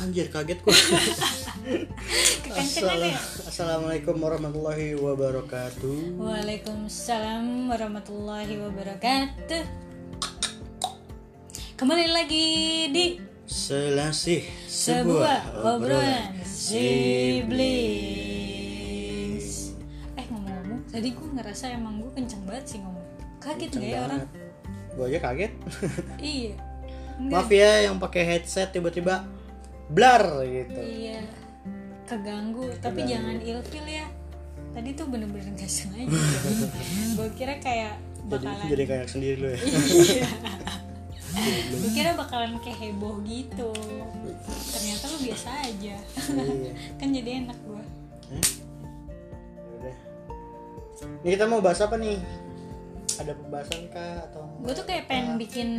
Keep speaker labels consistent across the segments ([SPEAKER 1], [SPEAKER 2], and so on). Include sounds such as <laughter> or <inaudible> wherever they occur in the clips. [SPEAKER 1] anjir kaget
[SPEAKER 2] <laughs>
[SPEAKER 1] gua.
[SPEAKER 2] Kekencengan ya?
[SPEAKER 1] Assala- Assalamualaikum warahmatullahi wabarakatuh.
[SPEAKER 2] Waalaikumsalam warahmatullahi wabarakatuh. Kembali lagi di
[SPEAKER 1] Selasih
[SPEAKER 2] sebuah
[SPEAKER 1] sebuah
[SPEAKER 2] obrolan
[SPEAKER 1] sibling.
[SPEAKER 2] siblings. Eh ngomong-ngomong, tadi gue ngerasa emang gue kenceng banget sih ngomong. Kaget gak ya orang?
[SPEAKER 1] Gua aja kaget. <laughs>
[SPEAKER 2] Iya. Enggak.
[SPEAKER 1] Maaf ya yang pakai headset tiba-tiba blar gitu.
[SPEAKER 2] Iya. Keganggu, tapi jangan ilfil ya. Tadi tuh bener-bener gak <laughs> sengaja. gue kira kayak
[SPEAKER 1] Jadi
[SPEAKER 2] bakalan
[SPEAKER 1] jadi kayak sendiri lu
[SPEAKER 2] Iya.
[SPEAKER 1] ya.
[SPEAKER 2] gue kira bakalan kayak heboh gitu ternyata lu biasa aja
[SPEAKER 1] <laughs>
[SPEAKER 2] <laughs>
[SPEAKER 1] Iya.
[SPEAKER 2] kan jadi enak gue
[SPEAKER 1] Hmm? Yaudah. Ini kita mau bahas apa nih? Ada pembahasan kah atau
[SPEAKER 2] gue tuh kayak pengen bikin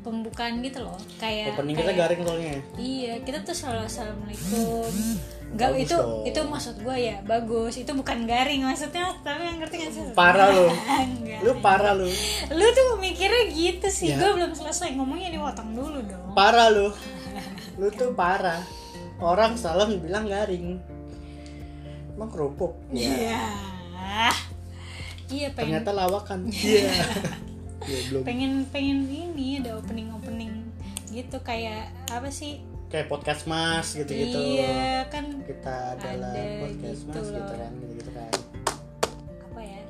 [SPEAKER 2] pembukaan gitu loh kayak
[SPEAKER 1] Iya. opening kita
[SPEAKER 2] kayak-
[SPEAKER 1] garing soalnya ya?
[SPEAKER 2] iya kita tuh selalu assalamualaikum Enggak,
[SPEAKER 1] Bagus
[SPEAKER 2] itu
[SPEAKER 1] dong.
[SPEAKER 2] itu maksud gue ya bagus itu bukan garing maksudnya tapi yang ngerti kan
[SPEAKER 1] Parah lu.
[SPEAKER 2] enggak
[SPEAKER 1] Lu parah lu.
[SPEAKER 2] lu tuh mikirnya gitu sih
[SPEAKER 1] Ya.
[SPEAKER 2] gue belum selesai ngomongnya dipotong dulu dong
[SPEAKER 1] Parah lu. Lu tuh parah. Orang salam bilang garing. Emang kerupuk.
[SPEAKER 2] iya iya pengen
[SPEAKER 1] Ternyata lawakan. Iya. Ya, belum.
[SPEAKER 2] pengen pengen ini ada opening opening gitu kayak apa sih
[SPEAKER 1] Kayak podcast Mas gitu-gitu.
[SPEAKER 2] iya kan
[SPEAKER 1] Kita adalah
[SPEAKER 2] Ada
[SPEAKER 1] podcast
[SPEAKER 2] gitu
[SPEAKER 1] Mas gitu
[SPEAKER 2] loh.
[SPEAKER 1] kan, gitu-gitu kan.
[SPEAKER 2] apa ya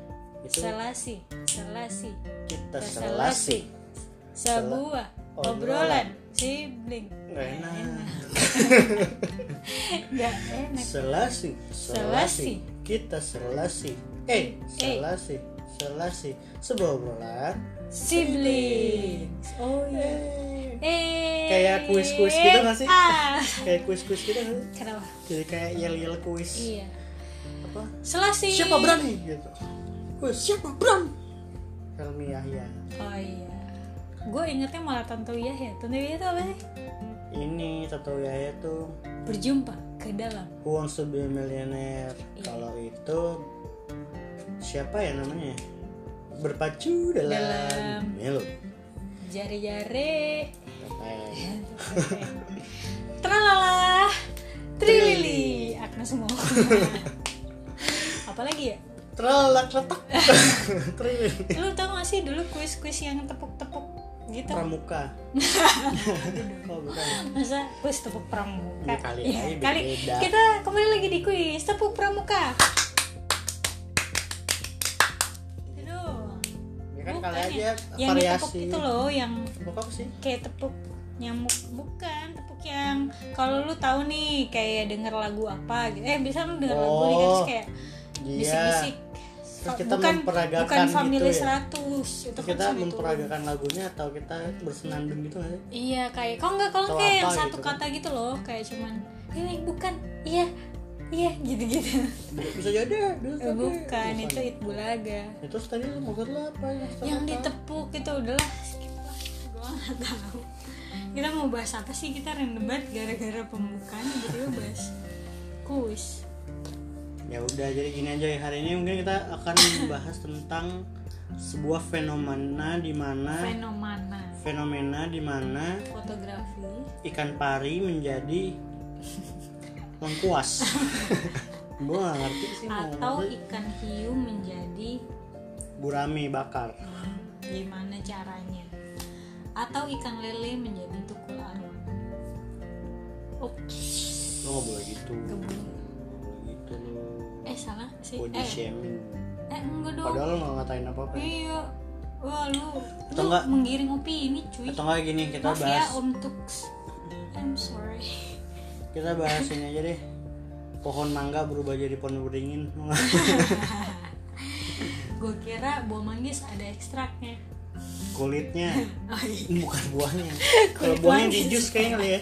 [SPEAKER 1] Itu
[SPEAKER 2] selasi selasi
[SPEAKER 1] kita
[SPEAKER 2] selasi
[SPEAKER 1] selasi.
[SPEAKER 2] sebuah
[SPEAKER 1] obrolan.
[SPEAKER 2] obrolan sibling
[SPEAKER 1] Nggak enak.
[SPEAKER 2] nggak enak
[SPEAKER 1] Selasi,
[SPEAKER 2] Selasi.
[SPEAKER 1] selasi, kita selasi. Eh, selasi, selasi. Sebuah obrolan.
[SPEAKER 2] siblings oh iya
[SPEAKER 1] Eh.
[SPEAKER 2] eh
[SPEAKER 1] Kayak kuis-kuis gitu nggak sih?
[SPEAKER 2] ah.
[SPEAKER 1] Kayak kuis-kuis gitu kan?
[SPEAKER 2] kenapa
[SPEAKER 1] Jadi kayak yel-yel kuis.
[SPEAKER 2] iya
[SPEAKER 1] Apa?
[SPEAKER 2] selasi
[SPEAKER 1] Siapa berani? Gitu. Kuis siapa berani? Helmi Yahya.
[SPEAKER 2] oh iya gue ingetnya malah Tanto Yahya Tanto Yahya itu apa sih
[SPEAKER 1] Ini satu Yahya tuh
[SPEAKER 2] berjumpa ke dalam
[SPEAKER 1] Who Wants to Be a Millionaire.
[SPEAKER 2] Iya.
[SPEAKER 1] Kalau itu siapa ya namanya? Berpacu dalam,
[SPEAKER 2] Dalam.
[SPEAKER 1] melo.
[SPEAKER 2] jari-jari
[SPEAKER 1] Keren.
[SPEAKER 2] Iya. Tralala Trilili Agnes
[SPEAKER 1] <laughs>
[SPEAKER 2] semua Apalagi ya?
[SPEAKER 1] Trelak
[SPEAKER 2] <laughs>
[SPEAKER 1] letak. Trelak.
[SPEAKER 2] Lu tau gak sih dulu kuis-kuis yang tepuk-tepuk gitu?
[SPEAKER 1] Pramuka.
[SPEAKER 2] <laughs>
[SPEAKER 1] oh, bukan.
[SPEAKER 2] Masa kuis tepuk pramuka? Iya,
[SPEAKER 1] Ya, kali aja beda.
[SPEAKER 2] Kita kembali lagi di kuis tepuk pramuka Itu doang.
[SPEAKER 1] Ya kan
[SPEAKER 2] Bukan
[SPEAKER 1] kali aja
[SPEAKER 2] yang- yang ditepuk
[SPEAKER 1] variasi.
[SPEAKER 2] itu loh yang
[SPEAKER 1] Tepuk apa sih?
[SPEAKER 2] kayak tepuk nyamuk bukan tepuk yang kalau lu tahu nih kayak denger lagu apa gitu eh bisa lu denger lagu nih kan terus
[SPEAKER 1] Oh,
[SPEAKER 2] kayak
[SPEAKER 1] Iya.
[SPEAKER 2] bisik-bisik
[SPEAKER 1] Terus kita
[SPEAKER 2] bukan
[SPEAKER 1] memperagakan
[SPEAKER 2] bukan family
[SPEAKER 1] gitu ya?
[SPEAKER 2] 100 itu kan
[SPEAKER 1] kita
[SPEAKER 2] sama itu.
[SPEAKER 1] memperagakan lagunya atau kita bersenandung gitu nggak sih?
[SPEAKER 2] iya kayak kok enggak kalau
[SPEAKER 1] Atau
[SPEAKER 2] kayak yang
[SPEAKER 1] apa
[SPEAKER 2] satu
[SPEAKER 1] gitu kan?
[SPEAKER 2] kata gitu loh kayak cuman ini bukan iya iya gitu-gitu
[SPEAKER 1] Bisa jadi, bisa
[SPEAKER 2] Eh,
[SPEAKER 1] jadi.
[SPEAKER 2] bukan itu it bulaga
[SPEAKER 1] Ya, terus tadi lu mau lu apa ya?
[SPEAKER 2] yang ditepuk itu udahlah skip lah gue nggak tahu kita mau bahas apa sih kita random banget gara-gara pembukaan tiba-tiba bahas kuis
[SPEAKER 1] Ya udah, jadi gini aja ya. hari ini mungkin kita akan bahas tentang sebuah fenomena di mana
[SPEAKER 2] fenomena
[SPEAKER 1] fenomena di mana
[SPEAKER 2] fotografi
[SPEAKER 1] ikan pari menjadi
[SPEAKER 2] <laughs>
[SPEAKER 1] lengkuas. Gua gak ngerti sih mau
[SPEAKER 2] atau
[SPEAKER 1] ngomong.
[SPEAKER 2] ikan hiu menjadi
[SPEAKER 1] gurame bakar.
[SPEAKER 2] hmm, gimana caranya atau ikan lele menjadi tukul arwana oke
[SPEAKER 1] Lo gak boleh gitu. Gak
[SPEAKER 2] Nggak boleh.
[SPEAKER 1] boleh gitu lo.
[SPEAKER 2] eh salah sih
[SPEAKER 1] Body
[SPEAKER 2] eh
[SPEAKER 1] shaming.
[SPEAKER 2] eh enggak dong
[SPEAKER 1] Padahal lo gak ngatain apa-apa. ya.
[SPEAKER 2] iya wah lu
[SPEAKER 1] Atau
[SPEAKER 2] lu
[SPEAKER 1] enggak-
[SPEAKER 2] menggiring opini cuy
[SPEAKER 1] Atau enggak gini kita
[SPEAKER 2] Maaf ya
[SPEAKER 1] bahas
[SPEAKER 2] Om Tux I'm sorry <laughs>
[SPEAKER 1] kita bahas ini aja deh. Pohon mangga berubah jadi pohon beringin. <laughs>
[SPEAKER 2] Gue kira buah manggis ada ekstraknya
[SPEAKER 1] Kulitnya
[SPEAKER 2] oh, iya.
[SPEAKER 1] bukan buahnya. Kalau
[SPEAKER 2] <laughs> Kulit
[SPEAKER 1] buahnya
[SPEAKER 2] manggis.
[SPEAKER 1] di jus kayaknya kali ya.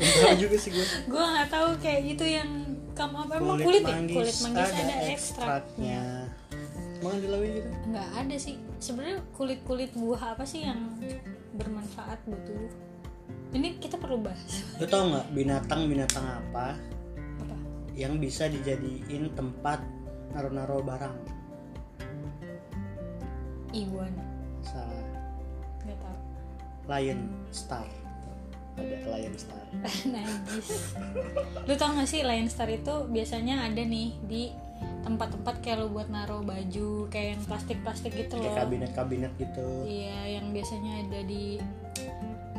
[SPEAKER 1] Gak
[SPEAKER 2] <laughs>
[SPEAKER 1] tahu juga sih gue.
[SPEAKER 2] Gue gak tahu kayak itu yang Kamu apa emang kulit ya? Kulit manggis ada, ekstrak
[SPEAKER 1] ekstraknya. Makan di lawi gitu.
[SPEAKER 2] Nggak ada sih sebenarnya kulit-kulit buah apa sih yang bermanfaat buat tubuh Ini kita perlu bahas
[SPEAKER 1] Lo tau nggak binatang-binatang apa
[SPEAKER 2] Apa?
[SPEAKER 1] yang bisa dijadiin tempat naruh-naruh barang?
[SPEAKER 2] Iguana
[SPEAKER 1] Salah.
[SPEAKER 2] Gak tahu <laughs>
[SPEAKER 1] Lion Star. ada Lion Star
[SPEAKER 2] najis lu tau gak sih Lion Star itu biasanya ada nih di tempat-tempat kayak lu buat naruh baju kayak yang plastik-plastik gitu loh
[SPEAKER 1] kayak kabinet-kabinet gitu
[SPEAKER 2] iya yang biasanya ada di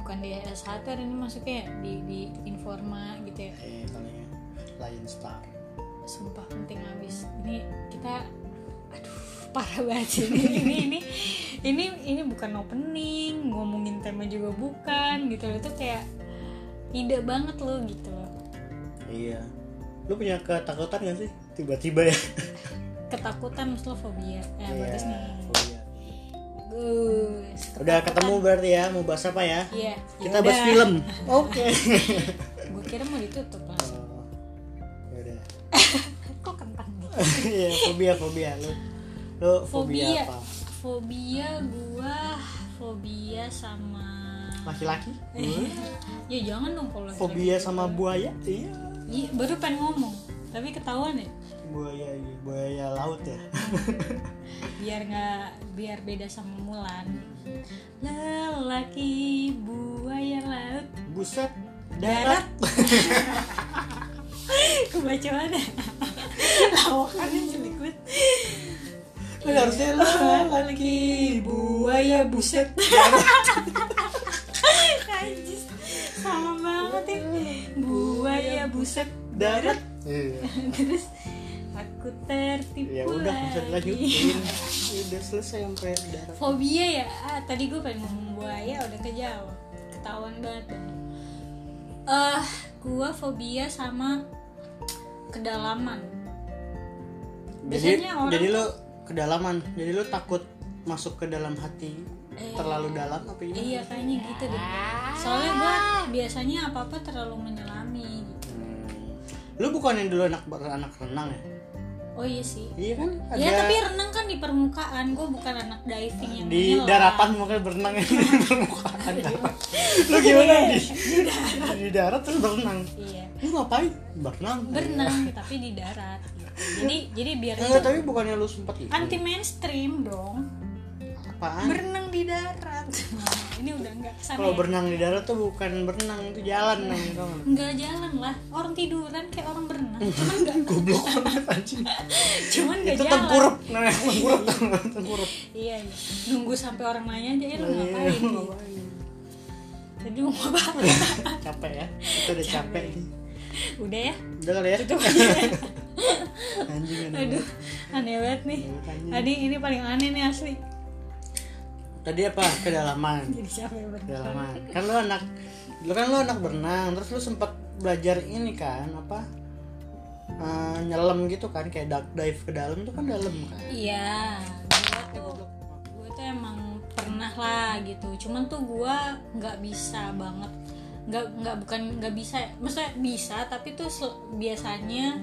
[SPEAKER 2] bukan di S1 ini masuknya ya, di di Informa gitu ya
[SPEAKER 1] eh kalinya Lion Star
[SPEAKER 2] sumpah penting abis ini kita aduh <laughs> parah banget sih ini ini ini ini ini bukan opening ngomongin tema juga bukan gitu loh itu kayak ide banget loh gitu loh
[SPEAKER 1] iya lu punya ketakutan gak sih tiba-tiba ya
[SPEAKER 2] ketakutan maksud lo fobia ya
[SPEAKER 1] Iya.
[SPEAKER 2] bagus nih
[SPEAKER 1] fobia.
[SPEAKER 2] bagus
[SPEAKER 1] Oh, iya. udah ketemu berarti ya mau bahas apa ya
[SPEAKER 2] iya
[SPEAKER 1] kita bahas
[SPEAKER 2] <laughs>
[SPEAKER 1] film oke <laughs>
[SPEAKER 2] gue kira mau ditutup langsung
[SPEAKER 1] Ya udah <laughs>
[SPEAKER 2] kok kentang gitu
[SPEAKER 1] Iya, fobia fobia lu lu fobia,
[SPEAKER 2] fobia
[SPEAKER 1] apa
[SPEAKER 2] fobia gua fobia sama
[SPEAKER 1] laki-laki Gua?
[SPEAKER 2] ya jangan dong kalau laki-laki.
[SPEAKER 1] fobia sama buaya iya
[SPEAKER 2] Iya, baru pengen ngomong tapi ketahuan ya
[SPEAKER 1] buaya iya. buaya laut ya <laughs>
[SPEAKER 2] biar nggak biar beda sama Mulan lelaki buaya laut <laughs>
[SPEAKER 1] buset
[SPEAKER 2] darat
[SPEAKER 1] darat
[SPEAKER 2] Eh, kebacaan <laughs> lawakannya jelek banget
[SPEAKER 1] lu harusnya lu
[SPEAKER 2] lagi buaya buset Anjis, sama banget ini
[SPEAKER 1] Iya.
[SPEAKER 2] buaya buset
[SPEAKER 1] darat iya
[SPEAKER 2] terus aku tertipu
[SPEAKER 1] ya udah bisa
[SPEAKER 2] lagi
[SPEAKER 1] lanjutin udah selesai sampai darat
[SPEAKER 2] fobia ya ah, tadi gue pengen ngomong buaya udah kejauh ketahuan banget eh gue fobia sama kedalaman
[SPEAKER 1] jadi
[SPEAKER 2] Biasanya orang-
[SPEAKER 1] jadi lu kedalaman jadi lu takut masuk ke dalam hati terlalu dalam apa gimana?
[SPEAKER 2] Iya kayaknya gitu deh. Soalnya gue biasanya apa apa terlalu menyelami. gitu.
[SPEAKER 1] Hmm. lu bukan yang dulu anak anak renang ya
[SPEAKER 2] Oh iya sih.
[SPEAKER 1] iya kan ada
[SPEAKER 2] Ya tapi Iya, renang kan di permukaan. Gue bukan anak diving yang
[SPEAKER 1] di
[SPEAKER 2] menyelam. <laughs>
[SPEAKER 1] daratan makanya berenang di permukaan lu gimana di di darat terus berenang
[SPEAKER 2] Iya.
[SPEAKER 1] lu ngapain berenang
[SPEAKER 2] Berenang tapi di darat. gitu. Jadi jadi biar
[SPEAKER 1] enggak Eh, tapi bukannya lu sempet itu
[SPEAKER 2] anti mainstream dong.
[SPEAKER 1] apaan
[SPEAKER 2] Berenang di darat. Nah, Ini udah nggak kesana.
[SPEAKER 1] kalau
[SPEAKER 2] ya.
[SPEAKER 1] berenang di darat tuh bukan berenang itu jalan namanya tau nggak?
[SPEAKER 2] Nggak jalan lah. Orang tiduran kayak orang
[SPEAKER 1] <laughs>
[SPEAKER 2] berenang. Cuman nggak
[SPEAKER 1] goblok banget anjing
[SPEAKER 2] cuman nggak
[SPEAKER 1] itu
[SPEAKER 2] jalan.
[SPEAKER 1] tengkurap namanya <laughs> tengkurap tau nggak? tengkurap
[SPEAKER 2] Iya, iya. Nunggu sampai orang nanya aja, ya lu ngapain?
[SPEAKER 1] Iya,
[SPEAKER 2] gitu.
[SPEAKER 1] ngapain?
[SPEAKER 2] Jadi mau apa? <laughs>
[SPEAKER 1] capek ya kita udah capek nih
[SPEAKER 2] Udah ya?
[SPEAKER 1] udah kali ya <laughs> anjing anjing.
[SPEAKER 2] Aduh, aneh banget nih.
[SPEAKER 1] Iya,
[SPEAKER 2] Tadi ini paling aneh nih asli.
[SPEAKER 1] tadi apa kedalaman
[SPEAKER 2] Jadi capek banget.
[SPEAKER 1] kedalaman kan lu anak lu kan lu anak berenang terus lu sempat belajar ini kan apa eh, nyelam gitu kan kayak duck dive ke dalam itu kan dalam kan
[SPEAKER 2] Iya, gua tuh gue tuh emang pernah lah gitu. Cuman tuh gua nggak bisa banget nggak nggak bukan nggak bisa ya. maksudnya bisa tapi tuh sel- biasanya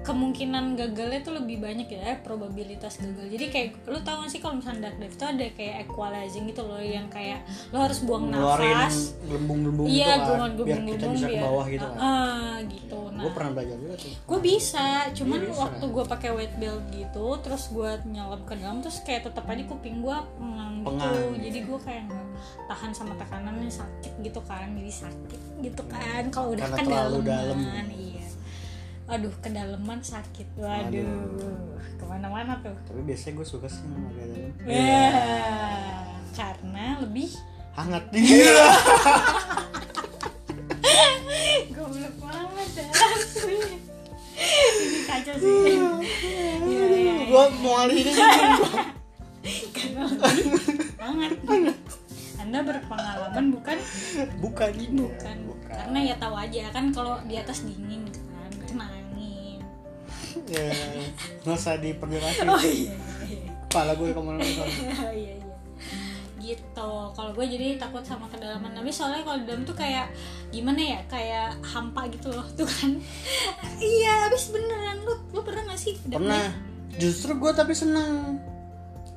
[SPEAKER 2] kemungkinan gagalnya tuh lebih banyak ya eh, probabilitas gagal jadi kayak lu tau gak sih kalau misalnya dark dive tuh ada kayak equalizing gitu loh yang kayak lu harus buang
[SPEAKER 1] ngeluarin
[SPEAKER 2] nafas
[SPEAKER 1] gelembung-gelembung
[SPEAKER 2] iya
[SPEAKER 1] gitu kan
[SPEAKER 2] gelombang
[SPEAKER 1] biar
[SPEAKER 2] gelombang
[SPEAKER 1] kita bisa ke bawah gitu kan
[SPEAKER 2] gitu nah
[SPEAKER 1] gue pernah belajar juga tuh
[SPEAKER 2] gue bisa cuman
[SPEAKER 1] Iya, bisa.
[SPEAKER 2] waktu gue pakai weight belt gitu terus gue nyelam ke dalam terus kayak tetap aja kuping gue pengang gitu
[SPEAKER 1] Pengang, iya.
[SPEAKER 2] jadi gue kayak nggak tahan sama tekanannya sakit gitu kan jadi sakit gitu kan kalau udah
[SPEAKER 1] Iya. Karena terlalu
[SPEAKER 2] kedalaman
[SPEAKER 1] dalam.
[SPEAKER 2] iya aduh kedalaman sakit waduh, kemana-mana tuh
[SPEAKER 1] tapi biasanya gue suka sih yang agak dalam Iya.
[SPEAKER 2] Wah, karena lebih <laughs>
[SPEAKER 1] hangat <laughs> iya
[SPEAKER 2] goblok banget asli <laughs> ini kacau sih Iya, iya, iya.
[SPEAKER 1] gue mau
[SPEAKER 2] <laughs>
[SPEAKER 1] alihin ini.
[SPEAKER 2] Karena lebih banget anda berpengalaman bukan
[SPEAKER 1] bukan ini
[SPEAKER 2] bukan karena ya tahu aja kan kalau di atas dingin kan kena angin
[SPEAKER 1] ya nggak usah diperjelas
[SPEAKER 2] oh iya iya.
[SPEAKER 1] kepala gue kemana-mana
[SPEAKER 2] Oh, <laughs> iya iya gitu kalau gue jadi takut sama kedalaman tapi soalnya kalau di dalam tuh kayak gimana ya kayak hampa gitu loh tuh kan iya habis beneran lu lu pernah gak sih ke dalam?
[SPEAKER 1] pernah justru gue tapi seneng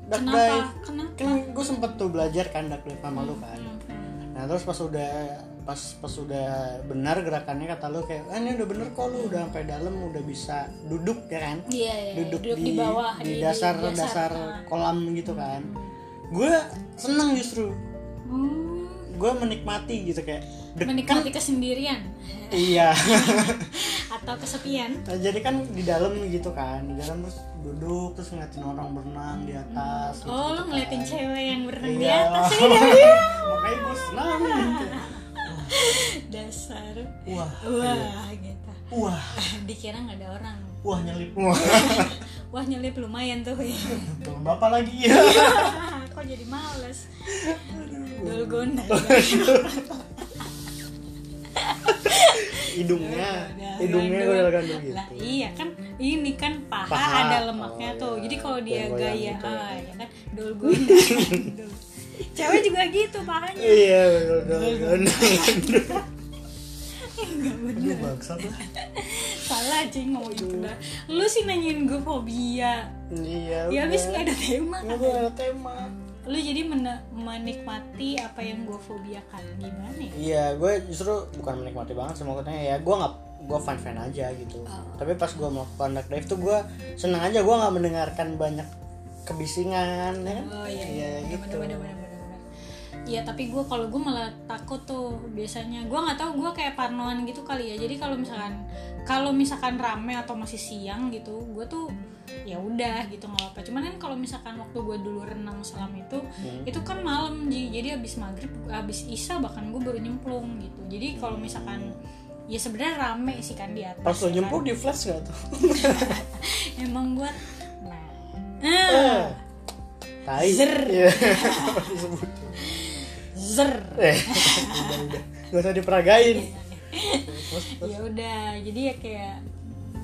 [SPEAKER 1] duck
[SPEAKER 2] kenapa
[SPEAKER 1] dive
[SPEAKER 2] kenapa
[SPEAKER 1] kan gue sempet tuh belajar kan duck dive sama lu kan
[SPEAKER 2] Hmm.
[SPEAKER 1] nah terus pas udah pas pas udah benar gerakannya kata lu kayak ah, ini udah bener kok lu udah sampai dalam udah bisa duduk ya kan
[SPEAKER 2] iya iya
[SPEAKER 1] duduk,
[SPEAKER 2] di, bawah
[SPEAKER 1] di, dasar dasar,
[SPEAKER 2] ah.
[SPEAKER 1] kolam gitu kan gue seneng justru
[SPEAKER 2] Hmm.
[SPEAKER 1] gue menikmati gitu kayak Dek-
[SPEAKER 2] menikmati kesendirian
[SPEAKER 1] iya <laughs>
[SPEAKER 2] atau kesepian
[SPEAKER 1] Nah, jadi kan di dalam gitu kan di dalam terus duduk terus ngeliatin orang berenang di atas gitu,
[SPEAKER 2] oh lu ngeliatin cewek yang berenang di
[SPEAKER 1] Iya.
[SPEAKER 2] atas ini
[SPEAKER 1] <laughs> makanya gue senang gitu
[SPEAKER 2] dasar
[SPEAKER 1] wah
[SPEAKER 2] wah gitu
[SPEAKER 1] wah
[SPEAKER 2] dikira nggak ada orang
[SPEAKER 1] wah nyelip wah
[SPEAKER 2] wah nyelip lumayan tuh <laughs> ya
[SPEAKER 1] tuh bapak lagi <laughs> ya
[SPEAKER 2] kok jadi males
[SPEAKER 1] <laughs>
[SPEAKER 2] dolgona
[SPEAKER 1] hidungnya
[SPEAKER 2] Udah,
[SPEAKER 1] hidungnya
[SPEAKER 2] gandul.
[SPEAKER 1] gue gandul gitu
[SPEAKER 2] Lah, iya kan ini kan paha,
[SPEAKER 1] Paha.
[SPEAKER 2] ada lemaknya
[SPEAKER 1] Oh,
[SPEAKER 2] tuh
[SPEAKER 1] iya.
[SPEAKER 2] jadi kalau dia
[SPEAKER 1] Goyang-goyang
[SPEAKER 2] gaya
[SPEAKER 1] gitu ya.
[SPEAKER 2] ah, ya kan dolgona <laughs> Gandul. cewek juga gitu pahanya
[SPEAKER 1] iya betul gandul
[SPEAKER 2] nggak
[SPEAKER 1] aduh
[SPEAKER 2] bener
[SPEAKER 1] bangsat lah
[SPEAKER 2] salah cing ngomong itu dah lu sih nanyain gue fobia
[SPEAKER 1] iya
[SPEAKER 2] ya abis
[SPEAKER 1] udah.
[SPEAKER 2] nggak ada tema
[SPEAKER 1] Nggak ada tema
[SPEAKER 2] lu jadi mene- menikmati apa yang gue fobiakan gimana ya
[SPEAKER 1] iya gue justru bukan menikmati banget sih maksudnya ya gue nggak gue fan fan aja gitu
[SPEAKER 2] Ah.
[SPEAKER 1] tapi pas gue melakukan duck dive tuh gue seneng aja gue nggak mendengarkan banyak kebisingan ya kan?
[SPEAKER 2] Oh iya,
[SPEAKER 1] Iya,
[SPEAKER 2] iya, iya
[SPEAKER 1] gitu
[SPEAKER 2] bener, bener, bener, bener, bener. Iya tapi gue kalau gue malah takut tuh biasanya gue nggak tahu gue kayak parnoan gitu kali ya jadi kalau misalkan kalau misalkan rame atau masih siang gitu gue tuh ya udah gitu nggak apa cuman kan kalau misalkan waktu gue dulu renang selam itu
[SPEAKER 1] Hmm.
[SPEAKER 2] itu kan malam Ji. jadi abis maghrib abis isya bahkan gue baru nyemplung gitu jadi kalau misalkan ya sebenarnya rame sih kan di atas
[SPEAKER 1] pas
[SPEAKER 2] ya
[SPEAKER 1] lo
[SPEAKER 2] kan.
[SPEAKER 1] nyemplung di flash gak
[SPEAKER 2] <laughs>
[SPEAKER 1] tuh
[SPEAKER 2] emang gue nah
[SPEAKER 1] Eh. tai
[SPEAKER 2] Zer.
[SPEAKER 1] <laughs> Iya, pas disebut.
[SPEAKER 2] zer
[SPEAKER 1] eh udah udah gak usah diperagain
[SPEAKER 2] Iya.
[SPEAKER 1] Terus, terus.
[SPEAKER 2] ya udah jadi ya kayak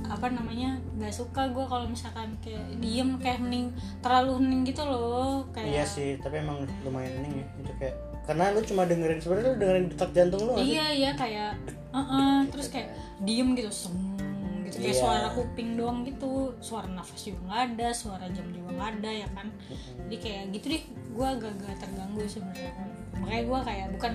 [SPEAKER 2] apa namanya nggak suka gue kalau misalkan kayak diem kayak hening terlalu hening gitu loh kayak
[SPEAKER 1] iya sih tapi emang lumayan ini ya itu kayak karena lu cuma dengerin sebenarnya lu dengerin detak jantung lu nggak sih?
[SPEAKER 2] iya iya kayak "Uh-uh," terus kayak diem gitu sem gitu kayak
[SPEAKER 1] Iya.
[SPEAKER 2] suara kuping doang gitu suara nafas juga nggak ada suara jam juga nggak ada ya kan jadi kayak gitu deh gue agak-agak terganggu sebenarnya makanya gue kayak bukan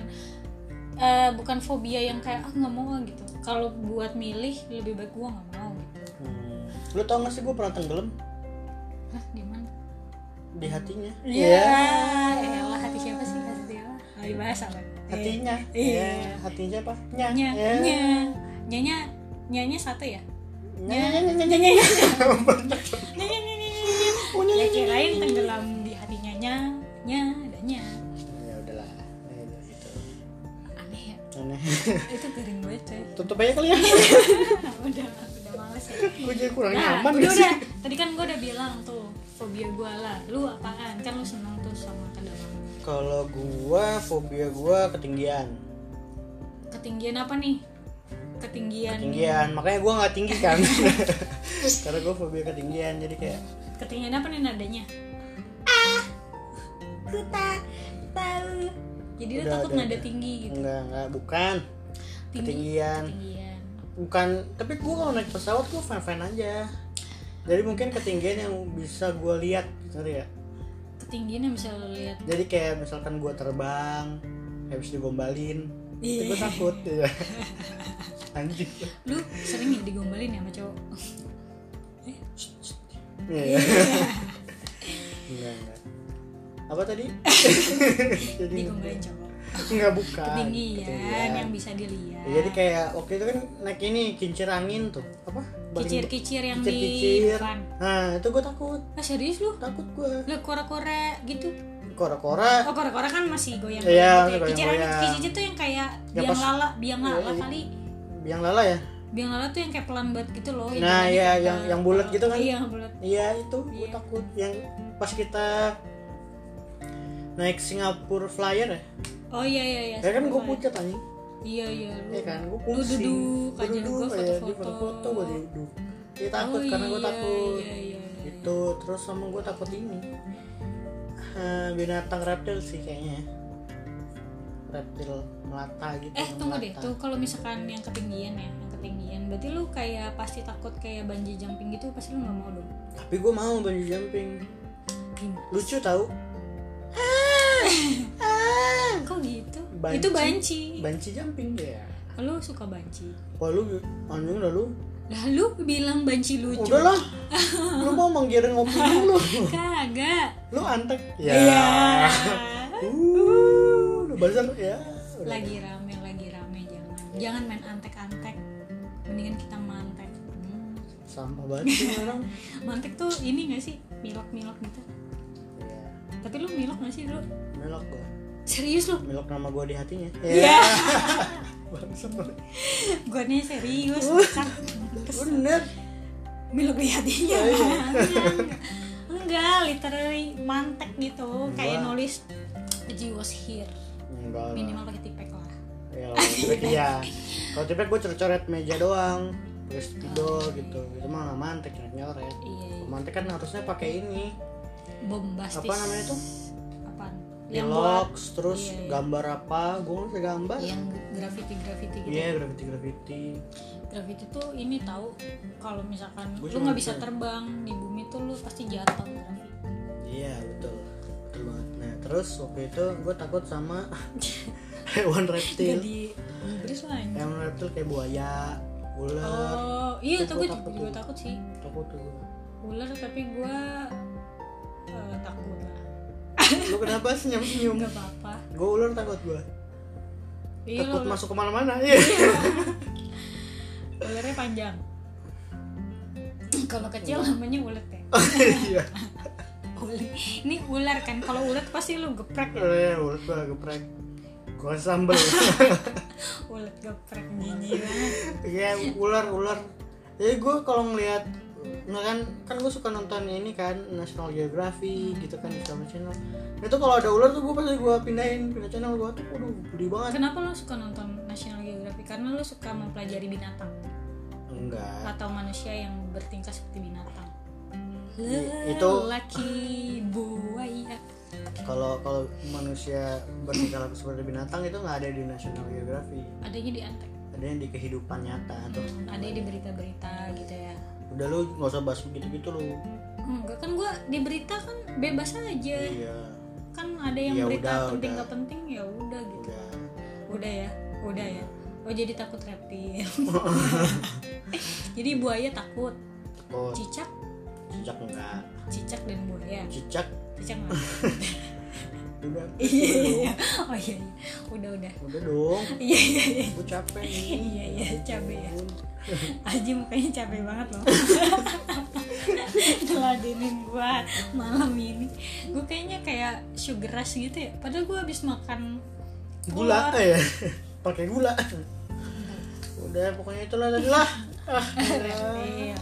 [SPEAKER 2] eh, bukan fobia yang kayak ah nggak mau ah," gitu kalau buat milih lebih baik gue nggak mau gitu
[SPEAKER 1] Hmm. lu tau gak sih gue pernah tenggelam
[SPEAKER 2] Hah, gimana?
[SPEAKER 1] di hatinya
[SPEAKER 2] Iya. Elah hati siapa sih hati siapa? Lagi bahas apa?
[SPEAKER 1] Iya. hatinya
[SPEAKER 2] Iya.
[SPEAKER 1] Iya, hatinya apa nya
[SPEAKER 2] Nya,
[SPEAKER 1] Iya.
[SPEAKER 2] nya, nyanya, nyanya satu ya?
[SPEAKER 1] nya nya nya nya
[SPEAKER 2] Nyanya,
[SPEAKER 1] <laughs>
[SPEAKER 2] nyanya, nyanya, nyanya, nyanya.
[SPEAKER 1] Iya. Oh, nya,
[SPEAKER 2] Ya
[SPEAKER 1] nya, nya.
[SPEAKER 2] kirain tenggelam di hati nyanya, nya, ada nya.
[SPEAKER 1] ya udahlah Ya, udah gitu
[SPEAKER 2] Aneh ya.
[SPEAKER 1] aneh <laughs>
[SPEAKER 2] Itu piring gue coy. <laughs>
[SPEAKER 1] tutup aja kali ya
[SPEAKER 2] udah, udah males ya.
[SPEAKER 1] gue jadi kurang
[SPEAKER 2] Nah,
[SPEAKER 1] nyaman
[SPEAKER 2] udah,
[SPEAKER 1] gak sih
[SPEAKER 2] udah. Tadi kan gue udah bilang tuh fobia gue lah. Lu apaan? Kan lu seneng tuh sama kedalaman.
[SPEAKER 1] kalau gua fobia gua ketinggian
[SPEAKER 2] Ketinggian apa nih? Ketinggian.
[SPEAKER 1] ketinggian makanya gua nggak tinggi
[SPEAKER 2] <laughs>
[SPEAKER 1] kan karena gua fobia ketinggian jadi kayak
[SPEAKER 2] Ketinggian apa nih nadanya? Ah, ku tak tahu. Jadi lu
[SPEAKER 1] Udah,
[SPEAKER 2] takut
[SPEAKER 1] udah,
[SPEAKER 2] nada
[SPEAKER 1] udah.
[SPEAKER 2] tinggi gitu.
[SPEAKER 1] enggak enggak bukan
[SPEAKER 2] Tinggi.
[SPEAKER 1] ketinggian
[SPEAKER 2] Ketinggian.
[SPEAKER 1] bukan tapi gue kalau naik pesawat gue fan fan aja jadi mungkin ketinggian yang bisa gue lihat gitu ya
[SPEAKER 2] Ketinggian yang bisa lu lihat.
[SPEAKER 1] jadi kayak misalkan gue terbang habis digombalin itu gue
[SPEAKER 2] Iya.
[SPEAKER 1] takut
[SPEAKER 2] <laughs>
[SPEAKER 1] ya anjing
[SPEAKER 2] Lu sering ya digombalin ya sama cowok?
[SPEAKER 1] Iya. enggak enggak apa
[SPEAKER 2] <laughs>
[SPEAKER 1] tadi jadi
[SPEAKER 2] digombalin cowok.
[SPEAKER 1] enggak bukan
[SPEAKER 2] Ketinggian,
[SPEAKER 1] iya. Ah, Ketinggian.
[SPEAKER 2] yang bisa dilihat.
[SPEAKER 1] Ya, jadi kayak waktu itu kan naik ini kincir angin tuh apa Baling-
[SPEAKER 2] kicir-kicir yang di
[SPEAKER 1] kicir-kicir.
[SPEAKER 2] depan.
[SPEAKER 1] nah itu gue takut
[SPEAKER 2] Ah serius lu?
[SPEAKER 1] takut gue
[SPEAKER 2] Lu kora-kora gitu?
[SPEAKER 1] kora-kora
[SPEAKER 2] Oh kora-kora kan masih goyang. gitu ya.
[SPEAKER 1] Iya, masih
[SPEAKER 2] Kicir angin
[SPEAKER 1] goyang-goyang.
[SPEAKER 2] kicir tuh yang kayak
[SPEAKER 1] Ya,
[SPEAKER 2] biang
[SPEAKER 1] pas-
[SPEAKER 2] lala, biang
[SPEAKER 1] Iya,
[SPEAKER 2] lala
[SPEAKER 1] iya.
[SPEAKER 2] kali.
[SPEAKER 1] biang lala ya
[SPEAKER 2] Biang lala tuh yang kayak pelan banget gitu loh. yang jalannya
[SPEAKER 1] Nah, iya,
[SPEAKER 2] kayak
[SPEAKER 1] yang-
[SPEAKER 2] pelan.
[SPEAKER 1] yang bulat gitu kan?
[SPEAKER 2] Iya, bulat.
[SPEAKER 1] iya itu gue
[SPEAKER 2] Iya.
[SPEAKER 1] takut yang pas kita naik Singapura Flyer ya
[SPEAKER 2] Oh iya iya iya.
[SPEAKER 1] ya kan gue
[SPEAKER 2] Spotify.
[SPEAKER 1] pucat anjing
[SPEAKER 2] Iya iya lu.
[SPEAKER 1] ya kan gue
[SPEAKER 2] Lu
[SPEAKER 1] pusing
[SPEAKER 2] duduk
[SPEAKER 1] Gua
[SPEAKER 2] aja, gua
[SPEAKER 1] aja, di
[SPEAKER 2] foto-foto.
[SPEAKER 1] foto-foto gue duduk dia takut
[SPEAKER 2] Oh,
[SPEAKER 1] karena gue
[SPEAKER 2] iya,
[SPEAKER 1] takut
[SPEAKER 2] Iya iya. iya.
[SPEAKER 1] itu terus sama gue takut ini Eh, binatang reptil sih kayaknya reptil melata gitu
[SPEAKER 2] Eh tunggu deh
[SPEAKER 1] melata.
[SPEAKER 2] tuh kalau misalkan yang ketinggian ya, yang ketinggian berarti lu kayak pasti takut kayak banji jumping gitu pasti lu nggak mau dong.
[SPEAKER 1] tapi gue mau bungee jumping
[SPEAKER 2] Gimana?
[SPEAKER 1] lucu tau
[SPEAKER 2] Kok gitu?
[SPEAKER 1] Banci.
[SPEAKER 2] Itu banci.
[SPEAKER 1] banci jumping ya
[SPEAKER 2] Lu suka banci.
[SPEAKER 1] wah lu anjing dah lu
[SPEAKER 2] Lalu bilang banci lucu.
[SPEAKER 1] Udah lah, lu mau menggiring ngopi
[SPEAKER 2] <laughs>
[SPEAKER 1] dulu.
[SPEAKER 2] Kagak.
[SPEAKER 1] Lu antek. Ya.
[SPEAKER 2] Iya.
[SPEAKER 1] Uh, lu bazar ya. Udah.
[SPEAKER 2] lagi rame lagi rame jangan main antek-antek mendingan kita mantek Hmm.
[SPEAKER 1] sama banget sih orang
[SPEAKER 2] mantek tuh ini gak sih milok-milok gitu
[SPEAKER 1] Iya.
[SPEAKER 2] tapi lu milok gak sih dulu
[SPEAKER 1] melok gue
[SPEAKER 2] serius lu
[SPEAKER 1] melok nama gue di hatinya
[SPEAKER 2] Iya.
[SPEAKER 1] <laughs> Bangsat banget.
[SPEAKER 2] gue nih serius Cak. Kesel.
[SPEAKER 1] bener
[SPEAKER 2] milok di hatinya
[SPEAKER 1] Oh, iya.
[SPEAKER 2] Enggak, <laughs> enggak literally mantek gitu kayak
[SPEAKER 1] Wah.
[SPEAKER 2] nulis Ji was here
[SPEAKER 1] enggak lah.
[SPEAKER 2] minimal pakai tipek lah
[SPEAKER 1] ya kalau tipek iya kalau tipek gue coret-coret meja doang terus spidol gitu itu mah nggak mantek nyoret nyoret
[SPEAKER 2] iya iya.
[SPEAKER 1] mantek kan harusnya pakai ini
[SPEAKER 2] bombastis
[SPEAKER 1] Apa namanya tuh?
[SPEAKER 2] apaan yang buat
[SPEAKER 1] Pilox, terus
[SPEAKER 2] iya, iya.
[SPEAKER 1] gambar apa gue nggak bisa gambar
[SPEAKER 2] yang graffiti graffiti gitu
[SPEAKER 1] iya graffiti graffiti
[SPEAKER 2] graffiti tuh ini tahu kalau misalkan
[SPEAKER 1] Gua
[SPEAKER 2] lu
[SPEAKER 1] cuma
[SPEAKER 2] nggak bisa
[SPEAKER 1] bisa.
[SPEAKER 2] terbang di bumi tuh lu pasti jatuh graffiti
[SPEAKER 1] iya betul betul banget nah terus waktu itu gue takut
[SPEAKER 2] <laughs>
[SPEAKER 1] sama hewan
[SPEAKER 2] Gak
[SPEAKER 1] reptil
[SPEAKER 2] di Inggris lah anjing.
[SPEAKER 1] hewan reptil kayak buaya ular
[SPEAKER 2] oh iya
[SPEAKER 1] Gua
[SPEAKER 2] tuh gue
[SPEAKER 1] takut
[SPEAKER 2] juga
[SPEAKER 1] tuh.
[SPEAKER 2] takut sih
[SPEAKER 1] takut tuh gua.
[SPEAKER 2] ular tapi gue takut lah
[SPEAKER 1] lu kenapa senyum senyum
[SPEAKER 2] nggak apa-apa
[SPEAKER 1] gue ular takut gue
[SPEAKER 2] iya
[SPEAKER 1] takut
[SPEAKER 2] lu-
[SPEAKER 1] masuk kemana-mana iya
[SPEAKER 2] ularnya panjang kalau kecil namanya ulet
[SPEAKER 1] <laughs>
[SPEAKER 2] ya
[SPEAKER 1] iya
[SPEAKER 2] ulet ini ular kan kalau ulet pasti lu geprek ya
[SPEAKER 1] Eh, ular gue geprek gue sambel
[SPEAKER 2] ulet geprek gigi banget
[SPEAKER 1] Iya ular ular jadi gue kalau ngelihat nah kan kan gue suka nonton ini kan National Geography gitu kan di Discovery Channel itu kalau ada ular tuh gue pasti gue pindahin pindah channel gue tuh waduh gede banget
[SPEAKER 2] Kenapa lo suka nonton National Geographic? Karena lo suka mempelajari binatang
[SPEAKER 1] enggak
[SPEAKER 2] atau manusia yang bertingkah seperti binatang.
[SPEAKER 1] I- itu-
[SPEAKER 2] Lelaki buaya.
[SPEAKER 1] kalau kalau manusia bertingkah laku seperti binatang itu nggak ada di National Geography
[SPEAKER 2] Adanya di antek.
[SPEAKER 1] adanya di kehidupan nyata tuh
[SPEAKER 2] Hmm, ada di berita-berita gitu ya.
[SPEAKER 1] udah lu nggak usah bahas begitu gitu lu
[SPEAKER 2] Enggak kan gua di berita kan bebas aja.
[SPEAKER 1] iya
[SPEAKER 2] Kan ada yang
[SPEAKER 1] Ya
[SPEAKER 2] berita
[SPEAKER 1] udah,
[SPEAKER 2] penting
[SPEAKER 1] udah.
[SPEAKER 2] nggak penting ya udah gitu.
[SPEAKER 1] udah
[SPEAKER 2] Udah ya, udah ya. Oh jadi takut
[SPEAKER 1] <laughs>
[SPEAKER 2] reptil. jadi buaya takut,
[SPEAKER 1] oh
[SPEAKER 2] cicak,
[SPEAKER 1] cicak enggak
[SPEAKER 2] cicak dan buaya.
[SPEAKER 1] cicak
[SPEAKER 2] Cicak nggak?
[SPEAKER 1] udah
[SPEAKER 2] iya iya iya. oh iya iya udah udah
[SPEAKER 1] udah dong
[SPEAKER 2] iya iya iya
[SPEAKER 1] gue capek nih
[SPEAKER 2] iya iya cabe ya Aji mukanya cabe banget loh teladenin gua malam ini gua kayaknya kayak sugar rush gitu ya padahal gua habis makan ular.
[SPEAKER 1] gula eh pakai gula udah pokoknya itulah tadi lah ah,
[SPEAKER 2] Iya.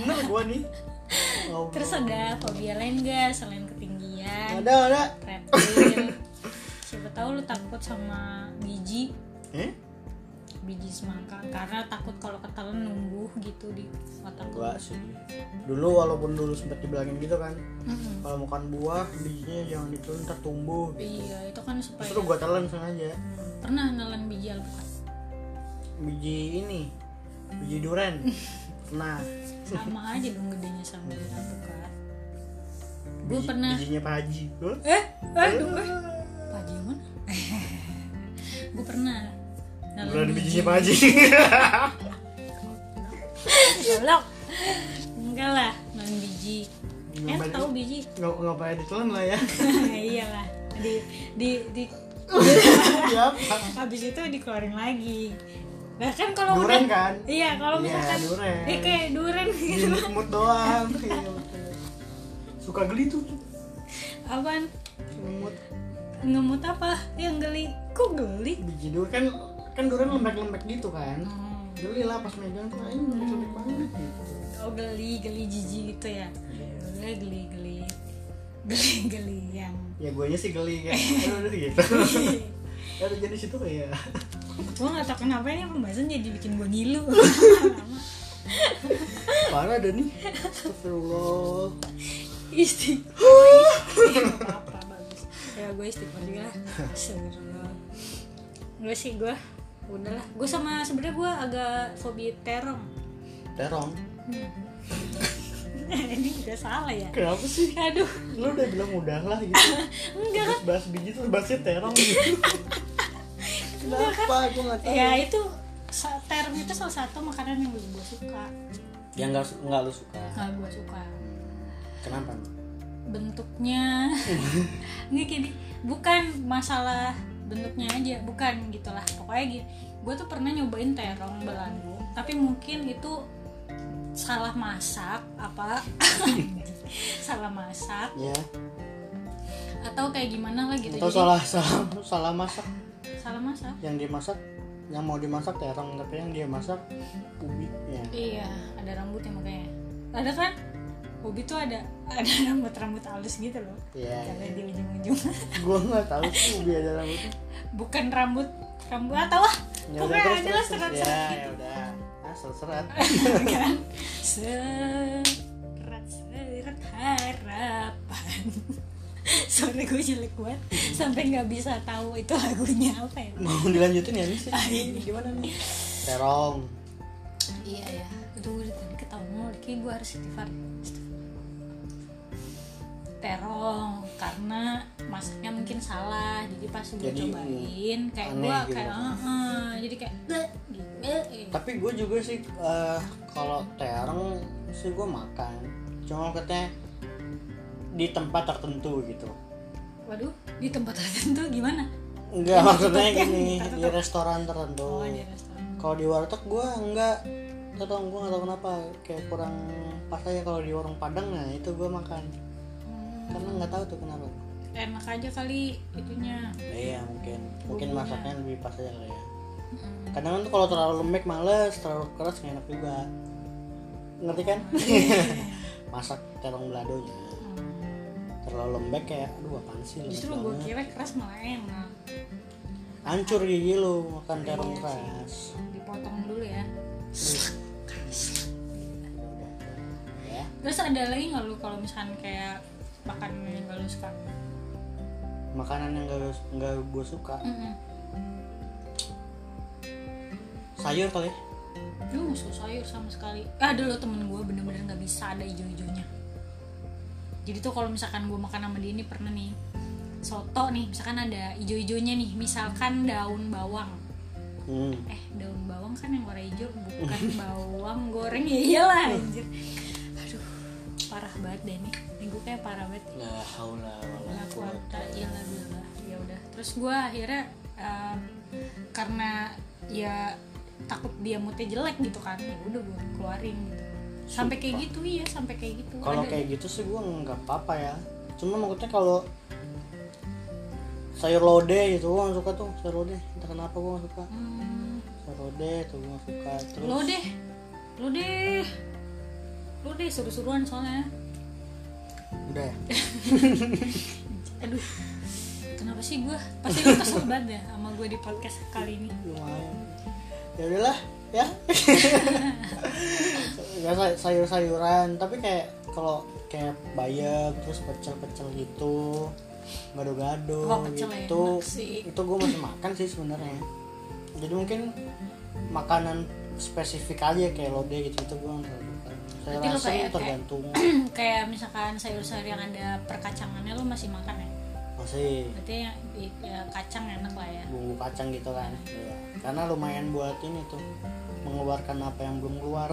[SPEAKER 1] bener gua nih Oh,
[SPEAKER 2] terus ada fobia lain gak selain ketinggian
[SPEAKER 1] ada ada <laughs>
[SPEAKER 2] reptil siapa tahu lu takut sama biji
[SPEAKER 1] eh
[SPEAKER 2] biji semangka karena takut kalau ketelan numbuh gitu di otak lu.
[SPEAKER 1] gua sih dulu walaupun dulu sempet dibilangin gitu kan
[SPEAKER 2] Mm-mm.
[SPEAKER 1] kalau makan buah bijinya jangan ditelan ntar tumbuh
[SPEAKER 2] Iya, itu kan supaya
[SPEAKER 1] justru gua telan sengaja
[SPEAKER 2] pernah nelan biji alpukat.
[SPEAKER 1] biji ini biji <laughs> duren nah
[SPEAKER 2] Sama aja dong gedenya sama biji alpukat. Gue
[SPEAKER 1] biji-
[SPEAKER 2] pernah
[SPEAKER 1] bijinya pak haji Hah?
[SPEAKER 2] eh aduh gue. Pagi mana? <laughs> gue pernah
[SPEAKER 1] Bulan bijinya pak haji
[SPEAKER 2] Goblok. Enggak lah, nelan biji.
[SPEAKER 1] <laughs> Ngapain-
[SPEAKER 2] Eh, tahu biji?
[SPEAKER 1] nggak nggak payah ditelan lah <laughs> ya
[SPEAKER 2] <laughs> Iyalah. Di di di
[SPEAKER 1] ya apa?
[SPEAKER 2] habis itu dikeluarin lagi. Nah kan kalau
[SPEAKER 1] Duren
[SPEAKER 2] udah
[SPEAKER 1] kan?
[SPEAKER 2] Iya, kalau
[SPEAKER 1] Iya,
[SPEAKER 2] misalkan
[SPEAKER 1] duren.
[SPEAKER 2] Eh, kayak duren <laughs>
[SPEAKER 1] Iya
[SPEAKER 2] gitu.
[SPEAKER 1] dinikmut doang Iya, betul. suka geli tuh
[SPEAKER 2] Apaan?
[SPEAKER 1] dinikmut
[SPEAKER 2] ngemut apa yang geli kok geli
[SPEAKER 1] biji durian kan kan durian lembek-lembek gitu kan geli lah pas megang tuh ini lembek banget gitu
[SPEAKER 2] oh geli geli jijik gitu ya geli geli geli geli geli yang
[SPEAKER 1] ya guanya sih geli <laughs> kan Aduh, udah gitu ada jadi situ ya. kayak
[SPEAKER 2] gue nggak tau kenapa ini pembahasan jadi bikin gue
[SPEAKER 1] <laughs>
[SPEAKER 2] ngilu
[SPEAKER 1] parah ada nih astagfirullah
[SPEAKER 2] istighfar apa bagus ya gue istighfar juga lah Astagfirullah. gue sih gue udahlah gue sama sebenarnya gue agak fobia terong <laughs>
[SPEAKER 1] terong
[SPEAKER 2] ini juga salah ya
[SPEAKER 1] kenapa sih
[SPEAKER 2] aduh
[SPEAKER 1] lu udah bilang udah lah gitu
[SPEAKER 2] enggak
[SPEAKER 1] terus bahas biji terus bahasnya terong gitu kenapa gue nggak tahu
[SPEAKER 2] ya itu sa- terong itu salah satu makanan yang gue suka
[SPEAKER 1] yang nggak nggak lu suka
[SPEAKER 2] nggak gue suka
[SPEAKER 1] kenapa <laughs>
[SPEAKER 2] bentuknya nggak gini bukan masalah bentuknya aja bukan gitulah pokoknya gitu gue tuh pernah nyobain terong belanggu tapi mungkin itu salah masak apa <laughs> salah masak
[SPEAKER 1] ya
[SPEAKER 2] atau kayak gimana lah gitu
[SPEAKER 1] atau
[SPEAKER 2] Jadi,
[SPEAKER 1] salah salah salah masak
[SPEAKER 2] salah masak
[SPEAKER 1] yang dimasak yang mau dimasak terong tapi yang dia masak ubi ya
[SPEAKER 2] iya ada rambutnya makanya ada kan hobi tuh ada ada rambut rambut halus gitu loh
[SPEAKER 1] Iya.
[SPEAKER 2] Kalau di ujung-ujung <laughs>
[SPEAKER 1] gua nggak tahu sih ubi ada rambutnya
[SPEAKER 2] bukan rambut rambut atau lah
[SPEAKER 1] ya udah
[SPEAKER 2] pokoknya
[SPEAKER 1] terus
[SPEAKER 2] ada lah
[SPEAKER 1] terus, terus. ya
[SPEAKER 2] serat-serat
[SPEAKER 1] ya udah ah serat
[SPEAKER 2] gitu kan serat serat harapan sorry gue jelek banget sampai nggak bisa tahu itu lagunya apa ya
[SPEAKER 1] mau dilanjutin ya sih
[SPEAKER 2] Ah,
[SPEAKER 1] gimana nih terong
[SPEAKER 2] iya ya aduh udah tadi ketemu kayak gue harus istighfar terong karena masaknya mungkin salah jadi pas gue
[SPEAKER 1] Jadi,
[SPEAKER 2] cobain kayak
[SPEAKER 1] aneh
[SPEAKER 2] gue
[SPEAKER 1] gitu.
[SPEAKER 2] kayak "Eh, eh," jadi kayak "Eh," gitu. Eh, gitu.
[SPEAKER 1] tapi gue juga sih eh, kalau terong sih gue makan cuma katanya di tempat tertentu gitu
[SPEAKER 2] waduh di tempat tertentu gimana
[SPEAKER 1] enggak maksudnya
[SPEAKER 2] Yang
[SPEAKER 1] gini
[SPEAKER 2] tertentu.
[SPEAKER 1] di restoran tertentu
[SPEAKER 2] oh di restoran
[SPEAKER 1] kalau di warteg gue enggak tau tau gue nggak tahu kenapa kayak kurang pas aja kalau di warung padang nah itu gue makan
[SPEAKER 2] Hmm,
[SPEAKER 1] karena nggak tahu tuh kenapa
[SPEAKER 2] enak aja kali itunya
[SPEAKER 1] iya mungkin mungkin
[SPEAKER 2] Bumbunya.
[SPEAKER 1] masaknya lebih pas aja kali ya
[SPEAKER 2] Mm.
[SPEAKER 1] kadang kan tuh kalau terlalu lembek males terlalu keras nggak enak juga ngerti
[SPEAKER 2] <laughs>
[SPEAKER 1] kan masak terong beladonya
[SPEAKER 2] Hmm.
[SPEAKER 1] terlalu lembek kayak aduh apaan sih lembek
[SPEAKER 2] justru gue
[SPEAKER 1] banget
[SPEAKER 2] kira keras malah enak
[SPEAKER 1] hancur gigi lu makan terong
[SPEAKER 2] Iya sih. <laughs>
[SPEAKER 1] keras
[SPEAKER 2] dipotong dulu ya
[SPEAKER 1] ya
[SPEAKER 2] terus ada lagi nggak lu kalau misalkan kayak makanan yang gak lu suka
[SPEAKER 1] makanan yang gak, nggak gue suka
[SPEAKER 2] Mm-mm.
[SPEAKER 1] sayur kali ya.
[SPEAKER 2] lu nggak suka sayur sama sekali ah, ada lo temen gue bener-bener nggak bisa ada hijau-hijaunya jadi tuh kalau misalkan gue makan sama dia ini pernah nih soto nih misalkan ada hijau-hijaunya nih misalkan daun bawang
[SPEAKER 1] hmm.
[SPEAKER 2] eh daun bawang kan yang warna hijau
[SPEAKER 1] <laughs>
[SPEAKER 2] bukan bawang goreng <laughs> ya iyalah anjir aduh parah banget deh nih Ini gue kayak parah banget
[SPEAKER 1] la haula wala
[SPEAKER 2] Wala
[SPEAKER 1] quwata.
[SPEAKER 2] quwata illa billah. ya udah terus gue akhirnya em, karena ya takut dia moodnya jelek gitu kan ya udah gue keluarin gitu sampai kayak
[SPEAKER 1] Sumpah.
[SPEAKER 2] gitu iya sampai kayak gitu
[SPEAKER 1] kalau
[SPEAKER 2] Ada-
[SPEAKER 1] kayak gitu sih gue nggak apa-apa ya cuma maksudnya kalau sayur lodeh gitu gue nggak suka tuh sayur lodeh entah kenapa gue nggak suka
[SPEAKER 2] Hmm,
[SPEAKER 1] sayur lodeh tuh gue nggak suka terus
[SPEAKER 2] lo deh lo deh lo deh suruh-suruhan soalnya
[SPEAKER 1] udah ya
[SPEAKER 2] aduh kenapa sih gue pasti lu kesel banget ya sama gue di podcast kali ini <clears throat>
[SPEAKER 1] lumayan ya udahlah
[SPEAKER 2] <laughs>
[SPEAKER 1] ya Nggak say- sayur-sayuran tapi kayak kalau kayak bayam terus pecel-pecel gitu gado-gado
[SPEAKER 2] Wah, Oh, pecel ya,
[SPEAKER 1] gitu
[SPEAKER 2] enak sih.
[SPEAKER 1] itu gue masih makan sih sebenarnya jadi mungkin makanan spesifik aja kayak lode gitu itu gue nggak terlalu suka saya
[SPEAKER 2] Berarti lu
[SPEAKER 1] rasa
[SPEAKER 2] kayak-
[SPEAKER 1] tergantung
[SPEAKER 2] kayak misalkan sayur-sayur yang ada perkacangannya lu masih makan ya
[SPEAKER 1] masih
[SPEAKER 2] berarti yang ya, kacang enak lah ya
[SPEAKER 1] bumbu kacang gitu kan Iya. karena lumayan buat ini tuh mengeluarkan apa yang belum keluar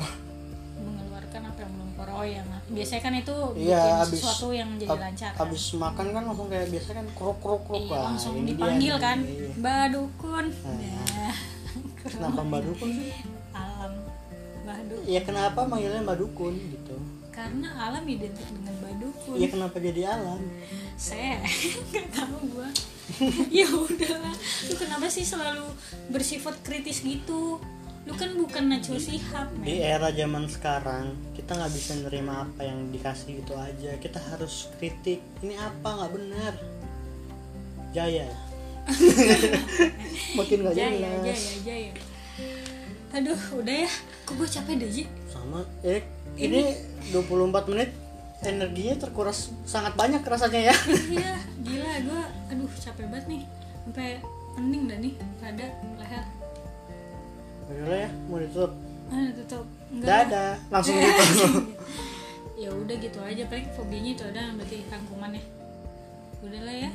[SPEAKER 2] mengeluarkan apa yang belum keluar oh ya nggak. biasanya kan itu bikin
[SPEAKER 1] Iya, habis-
[SPEAKER 2] sesuatu yang jadi
[SPEAKER 1] ab-
[SPEAKER 2] lancar kan?
[SPEAKER 1] Abis makan kan langsung kayak biasa kan kruk kruk kruk
[SPEAKER 2] Iya,
[SPEAKER 1] lah.
[SPEAKER 2] langsung
[SPEAKER 1] Ini dia
[SPEAKER 2] dipanggil
[SPEAKER 1] nih.
[SPEAKER 2] kan
[SPEAKER 1] Iya.
[SPEAKER 2] mbak dukun
[SPEAKER 1] Nah.
[SPEAKER 2] nah,
[SPEAKER 1] Kenapa Mbak Dukun sih?
[SPEAKER 2] <laughs> alam mbak dukun
[SPEAKER 1] Ya kenapa manggilnya Mbak Dukun gitu?
[SPEAKER 2] karena alam identik dengan mbak dukun
[SPEAKER 1] Ya kenapa jadi alam? Iya.
[SPEAKER 2] saya <laughs> nggak tahu gua <laughs> ya udah lu kenapa sih selalu bersifat kritis gitu lu kan bukan Najwa Shihab
[SPEAKER 1] Di
[SPEAKER 2] men
[SPEAKER 1] era zaman sekarang kita nggak bisa nerima apa yang dikasih gitu aja. Kita harus kritik. Ini apa nggak benar?
[SPEAKER 2] <laughs>
[SPEAKER 1] Jaya. Makin nggak
[SPEAKER 2] jaya
[SPEAKER 1] jelas.
[SPEAKER 2] jaya jaya aduh udah ya kok gue capek
[SPEAKER 1] <laughs>
[SPEAKER 2] deh Ji
[SPEAKER 1] Sama. Eh, ini 24 menit energinya terkuras sangat banyak
[SPEAKER 2] <laughs>
[SPEAKER 1] rasanya ya.
[SPEAKER 2] iya gila gue aduh capek banget nih sampai pening dah nih rada leher
[SPEAKER 1] Udah ya, mau ditutup.
[SPEAKER 2] ah tutup enggak
[SPEAKER 1] Dadah. Langsung <laughs> gitu.
[SPEAKER 2] ya udah gitu aja paling fobianya itu ada berarti rangkumannya udah lah ya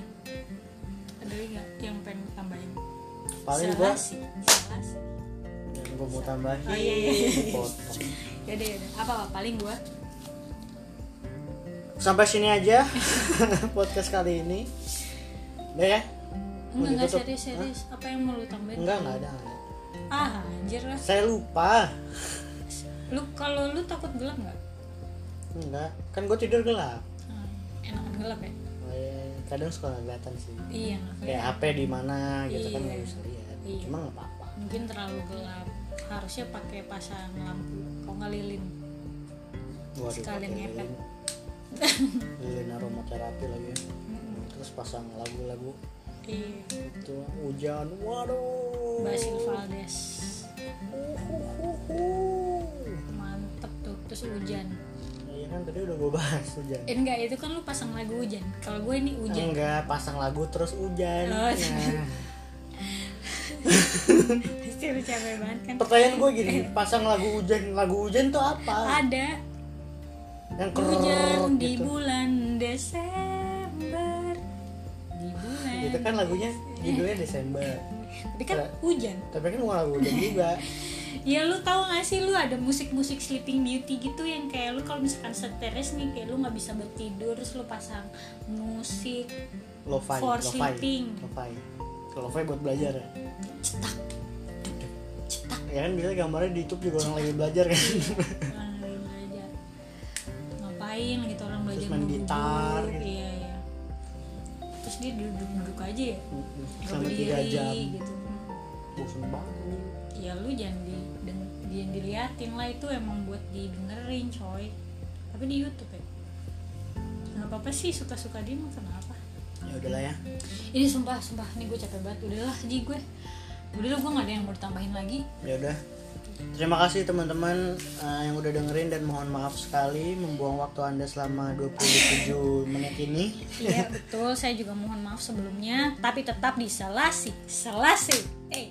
[SPEAKER 2] ada lagi nggak yang pengen tambahin
[SPEAKER 1] Paling
[SPEAKER 2] Salah
[SPEAKER 1] gua
[SPEAKER 2] sih, salah sih.
[SPEAKER 1] yang gua mau tambahin.
[SPEAKER 2] Oh, iya, iya, iya.
[SPEAKER 1] potong.
[SPEAKER 2] Yaudah, yaudah. ya apa apa paling gue <laughs>
[SPEAKER 1] Sampai sini aja podcast kali ini. Udah ya. Mau
[SPEAKER 2] enggak enggak
[SPEAKER 1] ditutup?
[SPEAKER 2] serius serius apa yang mau lu tambahin
[SPEAKER 1] enggak enggak ada, enggak ada.
[SPEAKER 2] ah anjir lah
[SPEAKER 1] saya lupa
[SPEAKER 2] lu kalau lu takut gelap nggak
[SPEAKER 1] enggak kan gue tidur gelap
[SPEAKER 2] Ah, enakan gelap ya
[SPEAKER 1] Eh, kadang suka nggak kelihatan sih
[SPEAKER 2] iya nggak
[SPEAKER 1] kayak
[SPEAKER 2] kelihatan.
[SPEAKER 1] HP di mana gitu kan
[SPEAKER 2] Iya.
[SPEAKER 1] nggak bisa lihat
[SPEAKER 2] Iya.
[SPEAKER 1] cuma nggak apa-apa
[SPEAKER 2] mungkin terlalu gelap harusnya pakai pasang lampu kalau nggak lilin
[SPEAKER 1] Waduh,
[SPEAKER 2] Sekalian
[SPEAKER 1] pakai
[SPEAKER 2] ngepet.
[SPEAKER 1] lilin. lilin aromaterapi lagi ya. terus pasang lagu-lagu
[SPEAKER 2] iya
[SPEAKER 1] itu hujan waduh
[SPEAKER 2] Basil Valdes
[SPEAKER 1] Uhuhuhu.
[SPEAKER 2] mantep tuh terus hujan
[SPEAKER 1] Iya kan tadi udah gue bahas hujan.
[SPEAKER 2] eh, enggak itu kan lu pasang lagu hujan kalau gue ini hujan
[SPEAKER 1] Enggak, pasang lagu terus hujan.
[SPEAKER 2] Oh,
[SPEAKER 1] Nah.
[SPEAKER 2] terus. <laughs> pasti lu capek banget kan
[SPEAKER 1] Hmm. Pertanyaan gue gini, pasang lagu hujan, lagu hujan tuh apa?
[SPEAKER 2] ada
[SPEAKER 1] Yang kerut
[SPEAKER 2] hujan Ah, di
[SPEAKER 1] gitu.
[SPEAKER 2] bulan Desember di bulan
[SPEAKER 1] Gitu kan lagunya
[SPEAKER 2] Eh.
[SPEAKER 1] judulnya Desember.
[SPEAKER 2] tapi kan hujan
[SPEAKER 1] Tapi kan bukan lagu
[SPEAKER 2] <laughs>
[SPEAKER 1] hujan juga.
[SPEAKER 2] ya lu tahu gak sih lu ada musik-musik Sleeping Beauty gitu yang kayak lu kalau misalkan stres nih kayak lu nggak bisa bertidur terus lu pasang
[SPEAKER 1] <laughs>
[SPEAKER 2] musik
[SPEAKER 1] Lo-fi,
[SPEAKER 2] For
[SPEAKER 1] lo-fi.
[SPEAKER 2] sleeping.
[SPEAKER 1] Lo-fi. Lo-fi buat belajar ya.
[SPEAKER 2] cetak cetak
[SPEAKER 1] Ya kan biasanya gambarnya di YouTube juga orang lagi belajar kan.
[SPEAKER 2] orang lagi belajar ngapain gitu orang belajar
[SPEAKER 1] main
[SPEAKER 2] duduk-duduk.
[SPEAKER 1] gitar gitu.
[SPEAKER 2] iya iya terus dia duduk-duduk aja ya Nggak
[SPEAKER 1] Sampai tiga
[SPEAKER 2] berdiri
[SPEAKER 1] jam.
[SPEAKER 2] gitu
[SPEAKER 1] Bosan banget. anjing.
[SPEAKER 2] ya lu jangan di deng- jangan diliatin lah itu emang buat didengerin coy tapi di YouTube ya nggak apa-apa sih suka-suka dia mah kenapa
[SPEAKER 1] Ya udahlah ya.
[SPEAKER 2] ini sumpah sumpah nih gue capek banget udahlah ji gue udahlah gue nggak ada yang mau ditambahin lagi
[SPEAKER 1] ya udah terima kasih teman-teman eh, yang udah dengerin dan mohon maaf sekali membuang waktu anda selama 27 menit ini
[SPEAKER 2] iya <laughs> betul saya juga mohon maaf sebelumnya tapi tetap di selasi selasi eh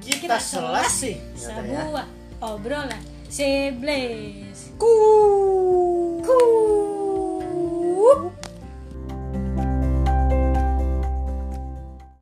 [SPEAKER 1] kita selasi Nggak ada ya.
[SPEAKER 2] sebuah obrolan sebles
[SPEAKER 1] Kuuuuh.